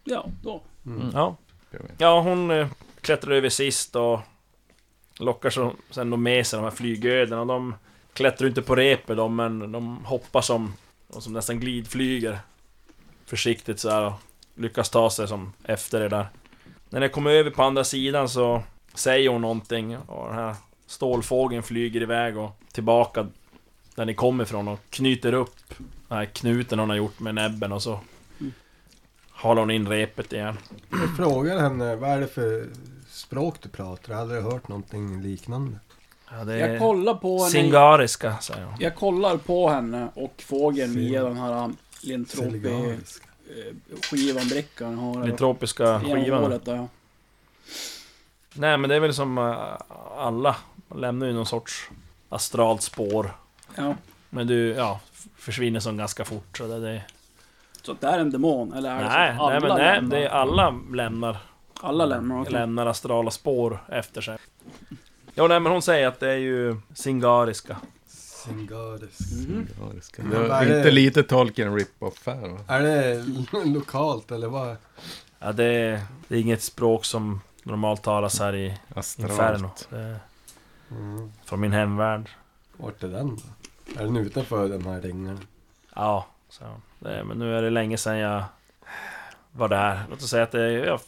S3: Ja, då.
S4: Mm.
S2: Ja.
S5: Gör vi.
S2: ja, hon eh, klättrar över sist och lockar så, sen då med sig de här flygödena. De klättrar ju inte på repet de, men de hoppar som, och som nästan glidflyger. Försiktigt så här och lyckas ta sig som efter det där. När jag kommer över på andra sidan så säger hon någonting och den här stålfågeln flyger iväg och tillbaka där ni kommer ifrån och knyter upp den här knuten hon har gjort med näbben och så
S3: Mm.
S2: halar hon in repet igen.
S4: Jag frågar henne, vad är det för språk du pratar? Jag har aldrig hört någonting liknande.
S2: Ja, det
S3: Jag
S2: är
S3: kollar på henne.
S2: singariska, säger hon.
S3: Jag kollar på henne och fågeln via den här um, Lintropi
S4: Seligarisk.
S3: skivan brickan jag har.
S2: Den tropiska
S3: Genom
S2: skivan.
S3: hålet där, ja.
S2: Nej, men det är väl som eh, alla. Man lämnar ju någon sorts astralt spår.
S3: ja.
S2: Men du, ja, f- försvinner som ganska fort. Så det, det...
S3: Så att det är en demon, eller är det
S2: Nej,
S3: så att
S2: nej,
S3: alla
S2: men nej,
S3: lämnar?
S2: det är alla lämnar,
S3: Alla lämnar, okej.
S2: lämnar astrala spår efter sig. Ja, nej, men hon säger att det är ju singariska.
S4: Singarisk.
S3: Mhm.
S5: Ja, det ska-
S4: Men
S5: Det
S4: vad är
S5: var inte
S4: det?
S5: lite Tolkien rip-off här va?
S4: Är det <laughs> lokalt eller vad?
S2: Ja, det, är- det är inget språk som normalt talas här i Inferno.
S5: Astralt.
S2: Det är
S4: Mm.
S2: från min hemvärld.
S4: Vart är den då? Är den utanför den här ringen?
S2: Ja, så. Det, men nu är det länge sedan jag var där. Låt oss säga att det är ja,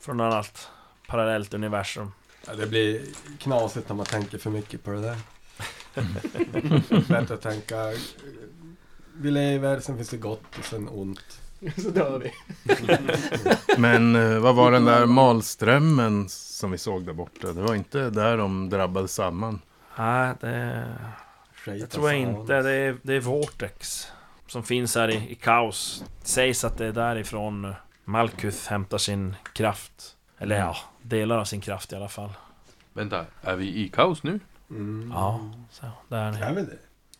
S2: från något annat parallellt universum.
S4: Ja, det blir knasigt när man tänker för mycket på det där.
S2: Mm.
S4: Bättre att tänka, eh, vi lever, sen finns det gott och sen ont.
S6: Så dör vi.
S5: Men eh, vad var den där malströmmen som vi såg där borta? Det var inte där de drabbade samman.
S2: Nej, det, det
S4: Skejta
S2: tror jag
S4: savan.
S2: inte. Det är, det är Vortex som finns här i, i kaos. Det sägs att det är därifrån Malkuth hämtar sin kraft. Eller ja, delar av sin kraft i alla fall.
S7: Vänta, är vi i kaos nu?
S4: Mm.
S2: Ja, så där är ni.
S4: Är vi det?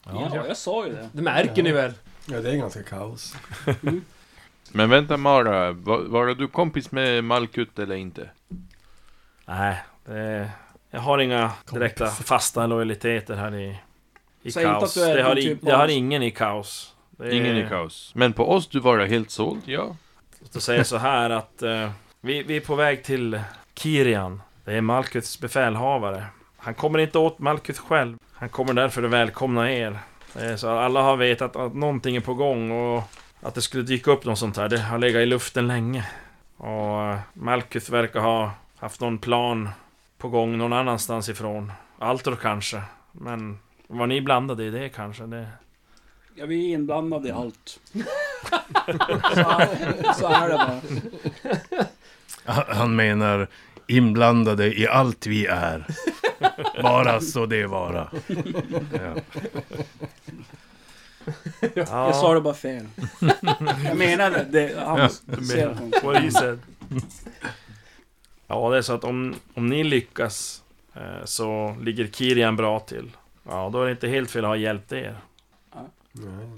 S3: Ja, jag sa ju det.
S6: Det märker ni väl?
S4: Ja, det är ganska kaos.
S7: Men vänta Mara, var, var du kompis med Malkut eller inte?
S2: Nej, det, jag har inga direkta fasta lojaliteter här i, i
S3: Säg inte
S2: kaos.
S3: att du är
S2: Det har,
S3: någon
S2: i,
S3: typ
S2: det
S3: av-
S2: har ingen i kaos. Det är-
S7: Ingen i kaos. Men på oss du var helt såld, Eh. ja.
S2: Låt oss säga så här att eh, vi, vi är på väg till Kirian. Det är Malkuths befälhavare. Han kommer inte åt Malkuth själv. Han kommer därför att välkomna er. Eh, så alla har vetat att någonting är på gång och att det skulle dyka upp något sånt här. Det har legat i luften länge. Och eh, Malkuth verkar ha haft någon plan på gång någon annanstans ifrån. Altor kanske. Men var ni blandade i det kanske? Det...
S3: Ja, vi är inblandade i <laughs> allt. så, så är det bara.
S8: Han han menar inblandade i allt vi är. Bara så det vara. Ja.
S2: Ja.
S3: Jag sa det bara fel. Jag menade det. Han ser på
S2: What he said. Ja, det är så att om, om ni lyckas eh, så ligger Kirian bra till. Ja, då är det inte helt fel att ha hjälpt er. <laughs>
S4: Nej.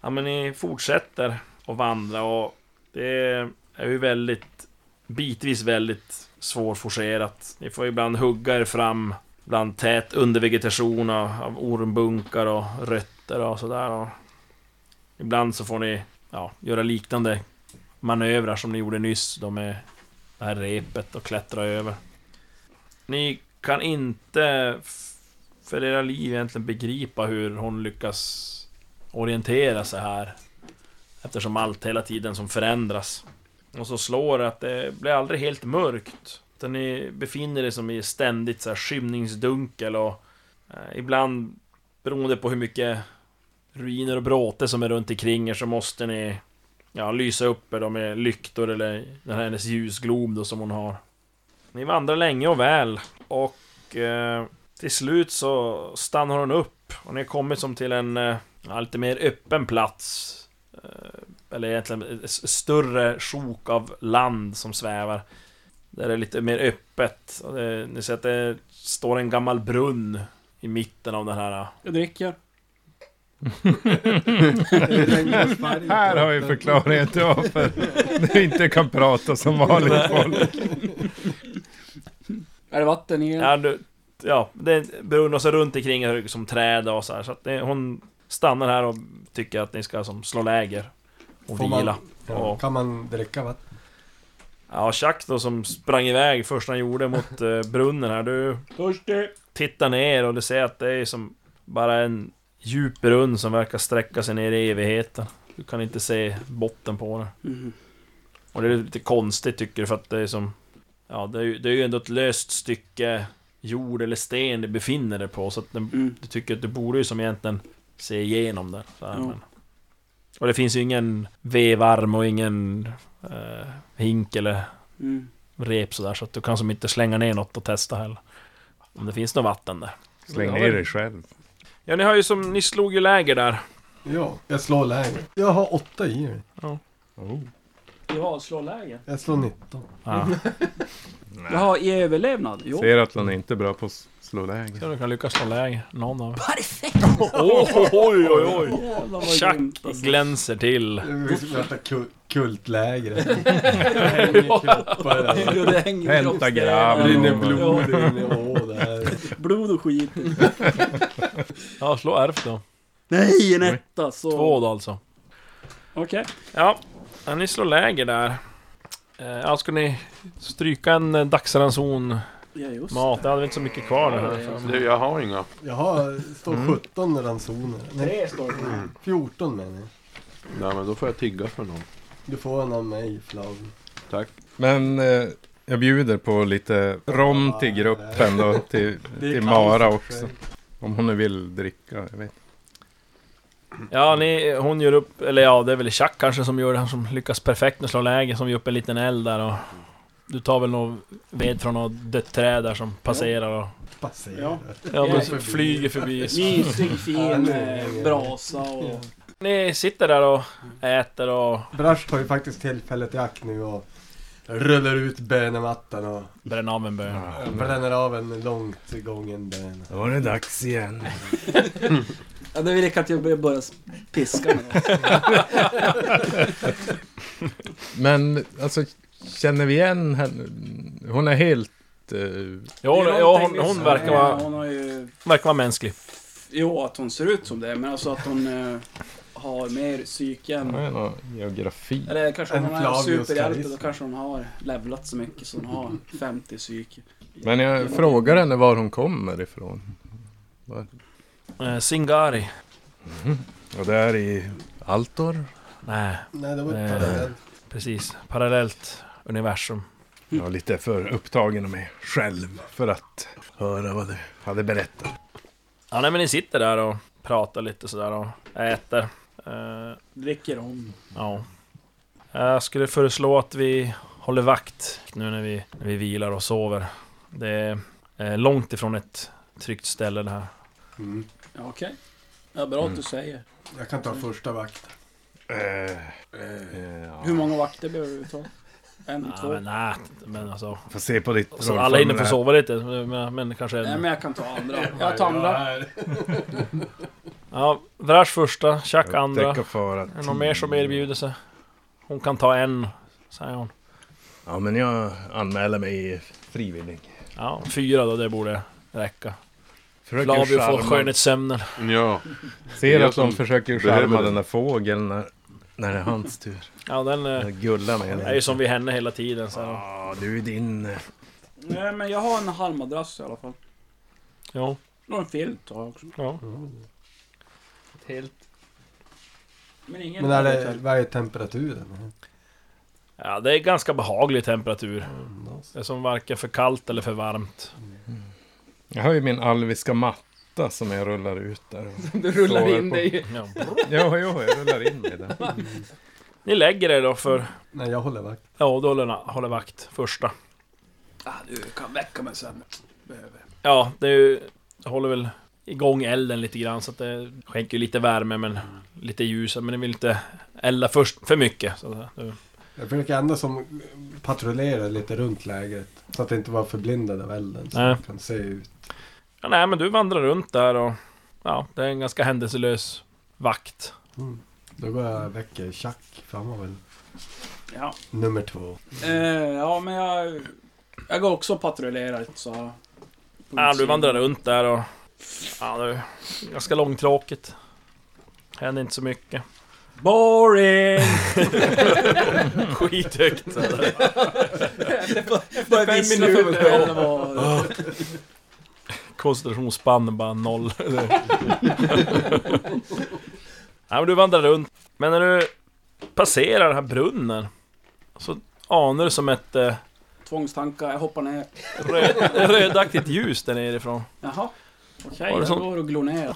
S2: Ja, men ni fortsätter att vandra och det är ju väldigt, bitvis väldigt svårforcerat. Ni får ibland hugga er fram bland tät undervegetation av, av ormbunkar och rötter och sådär. Och ibland så får ni ja, göra liknande manövrar som ni gjorde nyss då med det här repet och klättra över. Ni kan inte f- för era liv egentligen begripa hur hon lyckas orientera sig här. Eftersom allt hela tiden som förändras. Och så slår det att det blir aldrig helt mörkt. Utan ni befinner er som i ständigt så här skymningsdunkel och eh, ibland beroende på hur mycket ruiner och bråte som är runt omkring er så måste ni ja, lysa upp er då med lyktor eller den här hennes ljusglob då som hon har. Ni vandrar länge och väl och eh, till slut så stannar hon upp och ni har kommit som till en eh, ja, lite mer öppen plats. Eh, Eller egentligen ett s- större sjok av land som svävar. Där det är lite mer öppet. Och det- Ni ser att det står en gammal brunn i mitten av den här.
S4: Mm.
S3: Jag dricker.
S6: <laughs>
S5: Här har vi förklaringen till varför du inte kan prata som vanligt folk.
S3: Är det vatten i den?
S2: Ja, du, ja det är en brunn och så runt omkring är det som träd och så här. Så att det, hon stannar här och tycker att ni ska som slå läger. Och
S4: Får man-
S2: vila.
S4: Ja. Kan man dricka vatten?
S2: Ja, Chuck då som sprang iväg först han gjorde mot eh, brunnen här. Du
S3: Törstig!
S2: tittar ner och du ser att det är som bara en djup brunn som verkar sträcka sig ner i evigheten. Du kan inte se botten på den.
S3: Mhm.
S2: Och det är lite konstigt tycker du för att det är som... Ja, det är, ju- det är ju ändå ett löst stycke jord eller sten du befinner dig på så att den,
S3: Mm.
S2: du tycker att du borde ju som egentligen se igenom det. Så här,
S3: Ja.
S2: men. Och det finns ju ingen vevarm och ingen eh, hink eller
S3: Mm.
S2: rep sådär så att du kan som inte slänga ner något och testa heller. Om det finns något vatten där.
S5: Släng ner dig själv.
S2: Ja, ni har ju som, ni slog ju läger där.
S4: Ja, jag slår lägre. Jag har åtta i mig.
S3: Du har slåläge?
S4: Jag slår 19.
S2: Ja.
S3: Jaha, i överlevnad? Jo.
S5: Ser att han är inte är bra på att slå läger.
S2: Så du kan lyckas slå läger, någon av er.
S9: Perfekt!
S2: <laughs> Oj, oj, oj, oj.
S3: Jävlar vad grymt,
S2: Tjack
S3: alltså.
S2: glänser till.
S4: Vi ska liksom äta ku-
S2: <laughs>
S4: kultlägret. Det hänger kroppar där.
S3: Jo, det hänger i kroppen.
S5: Pentagram.
S4: Det rinner
S5: Ja,
S4: blod in i ån där.
S3: Blod och skit.
S2: Ja, slå ärft då.
S3: Nej, en etta så...
S2: Två då alltså.
S3: Okej.
S2: Ja, ja ni slår läger där. Eh, Ja, ska ni stryka en eh, dagsranson
S3: Ja, just
S2: mat? Det hade vi inte så mycket kvar nu. här.
S7: Du, jag har inga.
S4: Jag har,
S2: Mm.
S4: står 17 ransoner. Nej,
S3: Tre står det.
S4: 14 menar jag.
S7: Nej, men då får jag tigga för någon.
S4: Du får en av mig, Flav.
S7: Tack.
S5: Men eh, jag bjuder på lite rom till gruppen då, till,
S4: Det är
S5: till
S4: kallt
S5: Mara
S4: i och för sig.
S5: också. Om hon nu vill dricka, jag vet
S2: Ja, ni, hon gör upp, eller ja, det är väl Chuck kanske som gör det, han som lyckas perfekt med att slå läger, som gör upp en liten eld där och... Du tar väl någon ved från något dött träd där som passerar och...
S4: Passerar.
S2: Ja, men
S4: Förbi.
S2: flyger förbi.
S3: Mysig, fin eh,
S4: Ja.
S3: brasa och...
S2: Ni sitter där och äter och
S4: Brash tar ju faktiskt tillfället i akt nu och rullar ut bönemattan och
S2: bränner av en bön.
S4: bränner av en långt gången bön.
S8: Då var det dags igen.
S3: Ja, det vill att jag börjar börja piska med
S5: Men alltså, känner vi igen henne? Hon är helt... Eh,
S2: Ja, hon, ja, hon, hon verkar vara,
S3: Hon har ju...
S2: verkar vara mänsklig.
S3: Jo, att hon ser ut som det, men alltså att hon eh, har mer psyke än...
S5: hon är någon geografi.
S3: Eller kanske
S4: En
S3: hon är
S4: Flavius
S3: superhjälte,
S4: Karis.
S3: då kanske hon har levlat så mycket så hon har 50 psyke.
S5: Men jag frågar henne var hon kommer ifrån.
S2: Eh, Singari.
S8: Och där i Altor.
S2: Nej,
S4: Nej, det var
S2: Eh.
S4: ett parallellt.
S2: precis. Parallellt universum.
S8: Jag var lite för upptagen med själv för att höra vad du hade berättat.
S2: Ja, nej, men ni sitter där och pratar lite sådär och äter. Eh,
S3: Dricker om.
S2: Ja. Jag skulle föreslå att vi håller vakt nu när vi, när vi vilar och sover. Det är eh, långt ifrån ett tryggt ställe det här.
S3: Ja, Okej. Ja, bra
S2: Mm.
S3: att du säger.
S4: Mm. Jag kan ta första vakten.
S8: Eh,
S3: Hur många vakter behöver du ta? En,
S2: Ja,
S3: Mm, två?
S2: men nej, men alltså.
S8: får se på ditt
S2: Så alla
S8: rollformulär.
S2: hinner få sova lite, men, men kanske...
S3: Nej, men jag kan ta andra. Jag tar andra.
S2: Ja, Vrash första, Chuck
S8: Upptäcka
S2: andra.
S8: fara
S2: eh, Är det någon mer som erbjuder sig? Hon kan ta en, säger hon.
S8: Ja, men jag anmäler mig frivillig.
S2: Ja, fyra då, det borde räcka.
S8: Fröken
S2: Flavio får
S8: Charmant
S2: skönhetssömnen.
S7: Ja.
S5: Ser
S7: Jag
S5: att de
S7: som
S5: försöker
S7: behöver
S5: charma
S7: det.
S5: den där fågeln när, när det är hans tur.
S2: Ja, den eh,
S5: Jag gullar med
S2: är
S5: den.
S2: ju som vid henne hela tiden. Så. här.
S8: Ja, du är din... eh,
S3: Nej, men jag har en halmadrass i alla fall.
S2: Jo,
S3: Och en filt har jag också.
S2: ja.
S6: Helt.
S3: Men ingen...
S4: Men är det, vad är temperaturen?
S2: Ja, det är ganska behaglig temperatur.
S4: Nice.
S2: Det är som varken för kallt eller för varmt.
S5: Jag har ju min alviska matta som jag rullar ut där.
S6: Du rullar
S5: Sover
S6: in
S5: på-
S6: dig.
S2: Ja.
S5: Ja, ja, jag rullar in mig där.
S2: Ni lägger er då för...
S4: Nej, jag håller vakt.
S2: Ja, då håller, håller vakt första.
S3: Ah, du kan väcka mig sen. Behöver.
S2: Ja, det är ju, det håller väl igång elden lite grann så att det skänker ju lite värme men lite ljus men ni vill inte elda först för mycket. Så att, säga.
S4: Jag försöker ändå som patrullera lite runt lägret. Så att det inte var förblindad av elden. Så
S2: Nej.
S4: man kan se ut.
S2: ja, nej, men du vandrar runt där och ja, det är en ganska händelselös vakt.
S4: Då går jag och väcker Chuck. För han var väl
S3: Ja.
S4: nummer två.
S3: Eh, ja, men jag... Jag går också och patrullerar lite så här.
S2: Ja, Ah, du vandrar runt där och ja, det är ganska långtråkigt. Händer inte så mycket.
S3: Boring!
S2: <laughs> Skithögt. så här.
S3: Bara
S6: Fem
S3: vissla
S6: minuter.
S3: för mig själv och...
S2: Koncentrationsspann bara <laughs> noll. Nej men du vandrar runt. Men när du passerar den här brunnen så anar du som ett eh,
S3: Tvångstankar, jag hoppar ner.
S2: röd, rödaktigt ljus där nerifrån.
S3: Jaha. Okej,
S2: Var det
S3: jag
S2: sån-
S3: går och glor ner.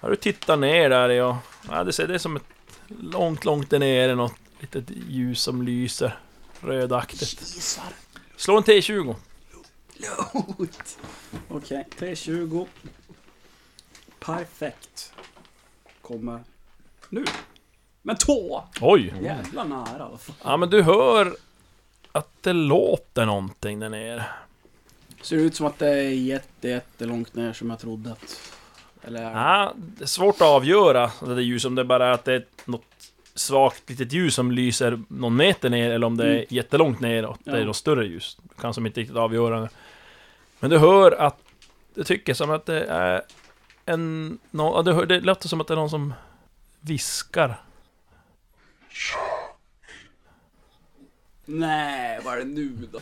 S2: Ja, du tittar ner där i och ja, det ser det är som ett långt, långt där nere något litet ljus som lyser rödaktigt.
S3: Kisar.
S2: Slå en T20.
S3: Lot. Okej, 320. Perfekt. Kommer nu. Men tå!
S2: Oj!
S3: Jävla nära. vad fan.
S2: Ja men du hör att det låter någonting där nere.
S3: Ser ut som att det är jätte, jättelångt ner som jag trodde att... Eller...
S2: Ja, det är svårt att avgöra det där ljuset, om det bara är att det är något svagt litet ljus som lyser någon meter ner eller om det är
S3: Mm.
S2: jättelångt ner och att det
S3: Ja.
S2: är något större ljus. Du kan som inte riktigt avgöra det. Men du hör att, du tycker som att det är en, nå- ja, du hör, det låter som att det är någon som viskar.
S3: Nej, vad är det nu då?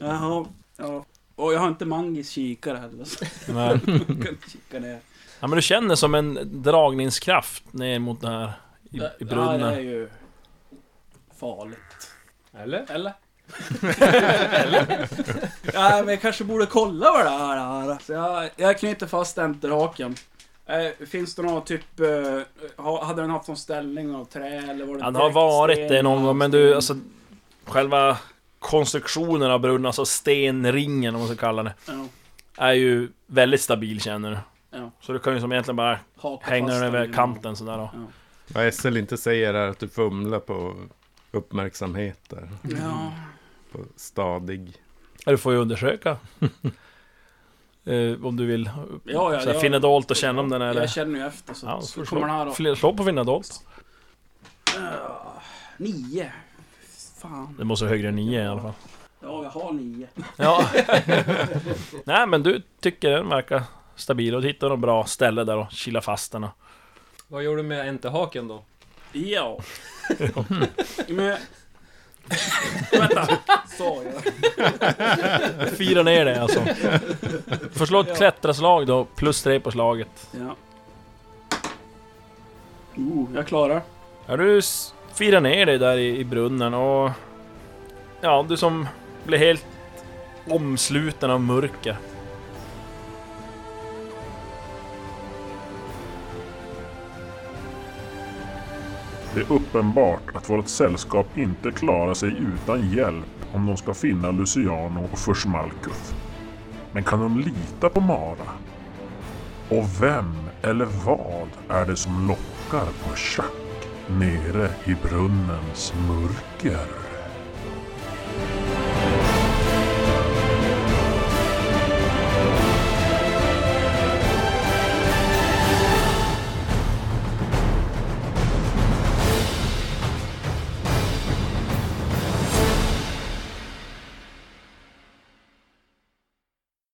S3: Jaha. Ja. Och jag har inte magisk kikare heller. Så
S2: Men,
S3: jag kan inte kika ner.
S2: ja, men du känner som en dragningskraft ner mot det här i, i
S3: Ja, det är
S2: brunnen.
S3: ju... Farligt.
S6: Eller?
S3: Eller? Eller? <laughs> ja, men jag kanske borde kolla vad det här är. Så jag, jag knyter fast enterhaken. Eh, finns det någon typ... Eh, ha- hade den haft någon ställning av trä eller var det
S2: Ja, det har varit det någon
S3: sten?
S2: gång, men du, alltså... Själva konstruktionen av brunnen, alltså stenringen om man ska kalla det,
S3: Ja,
S2: är ju väldigt stabil känner du.
S3: Ja.
S2: Så du kan ju som egentligen bara
S3: haka
S2: hänga
S3: fast
S2: den över
S3: i-
S2: kanten sådär då.
S5: Vad Essel inte säger är att du fumlar på uppmärksamhet där.
S3: Ja.
S5: På stadig.
S2: Ja, Du får ju undersöka. <laughs> eh, om du vill.
S3: Ja, ja,
S2: Såhär,
S3: ja.
S2: finna dolt och känna om den är
S3: Jag
S2: det.
S3: känner ju efter så,
S2: Ja,
S3: så
S2: så
S3: kommer den här då.
S2: slå, fler- slå på finna dolt.
S3: Eh, nio. Fan.
S2: Det måste vara högre än nio i alla
S3: <laughs>
S2: fall.
S3: Ja, jag har nio.
S2: Ja. Nej men du tycker den verkar stabil och du hittar något bra ställe där och kila fast den. och-
S6: Vad gör du med enterhaken då?
S3: Ja. <laughs> men... Vänta. Sa jag.
S2: Fira ner det alltså. Får slå ett klättraslag då, plus tre på slaget.
S3: Ja. Oh, jag klarar.
S2: Ja, du s- firar ner dig där i, i brunnen och... Ja, du som blir helt omsluten av mörker.
S1: Det är uppenbart att vårt sällskap inte klarar sig utan hjälp om de ska finna Luciano och Försmalkuth. Men kan de lita på Mara? Och vem eller vad är det som lockar på schack nere i brunnens mörker?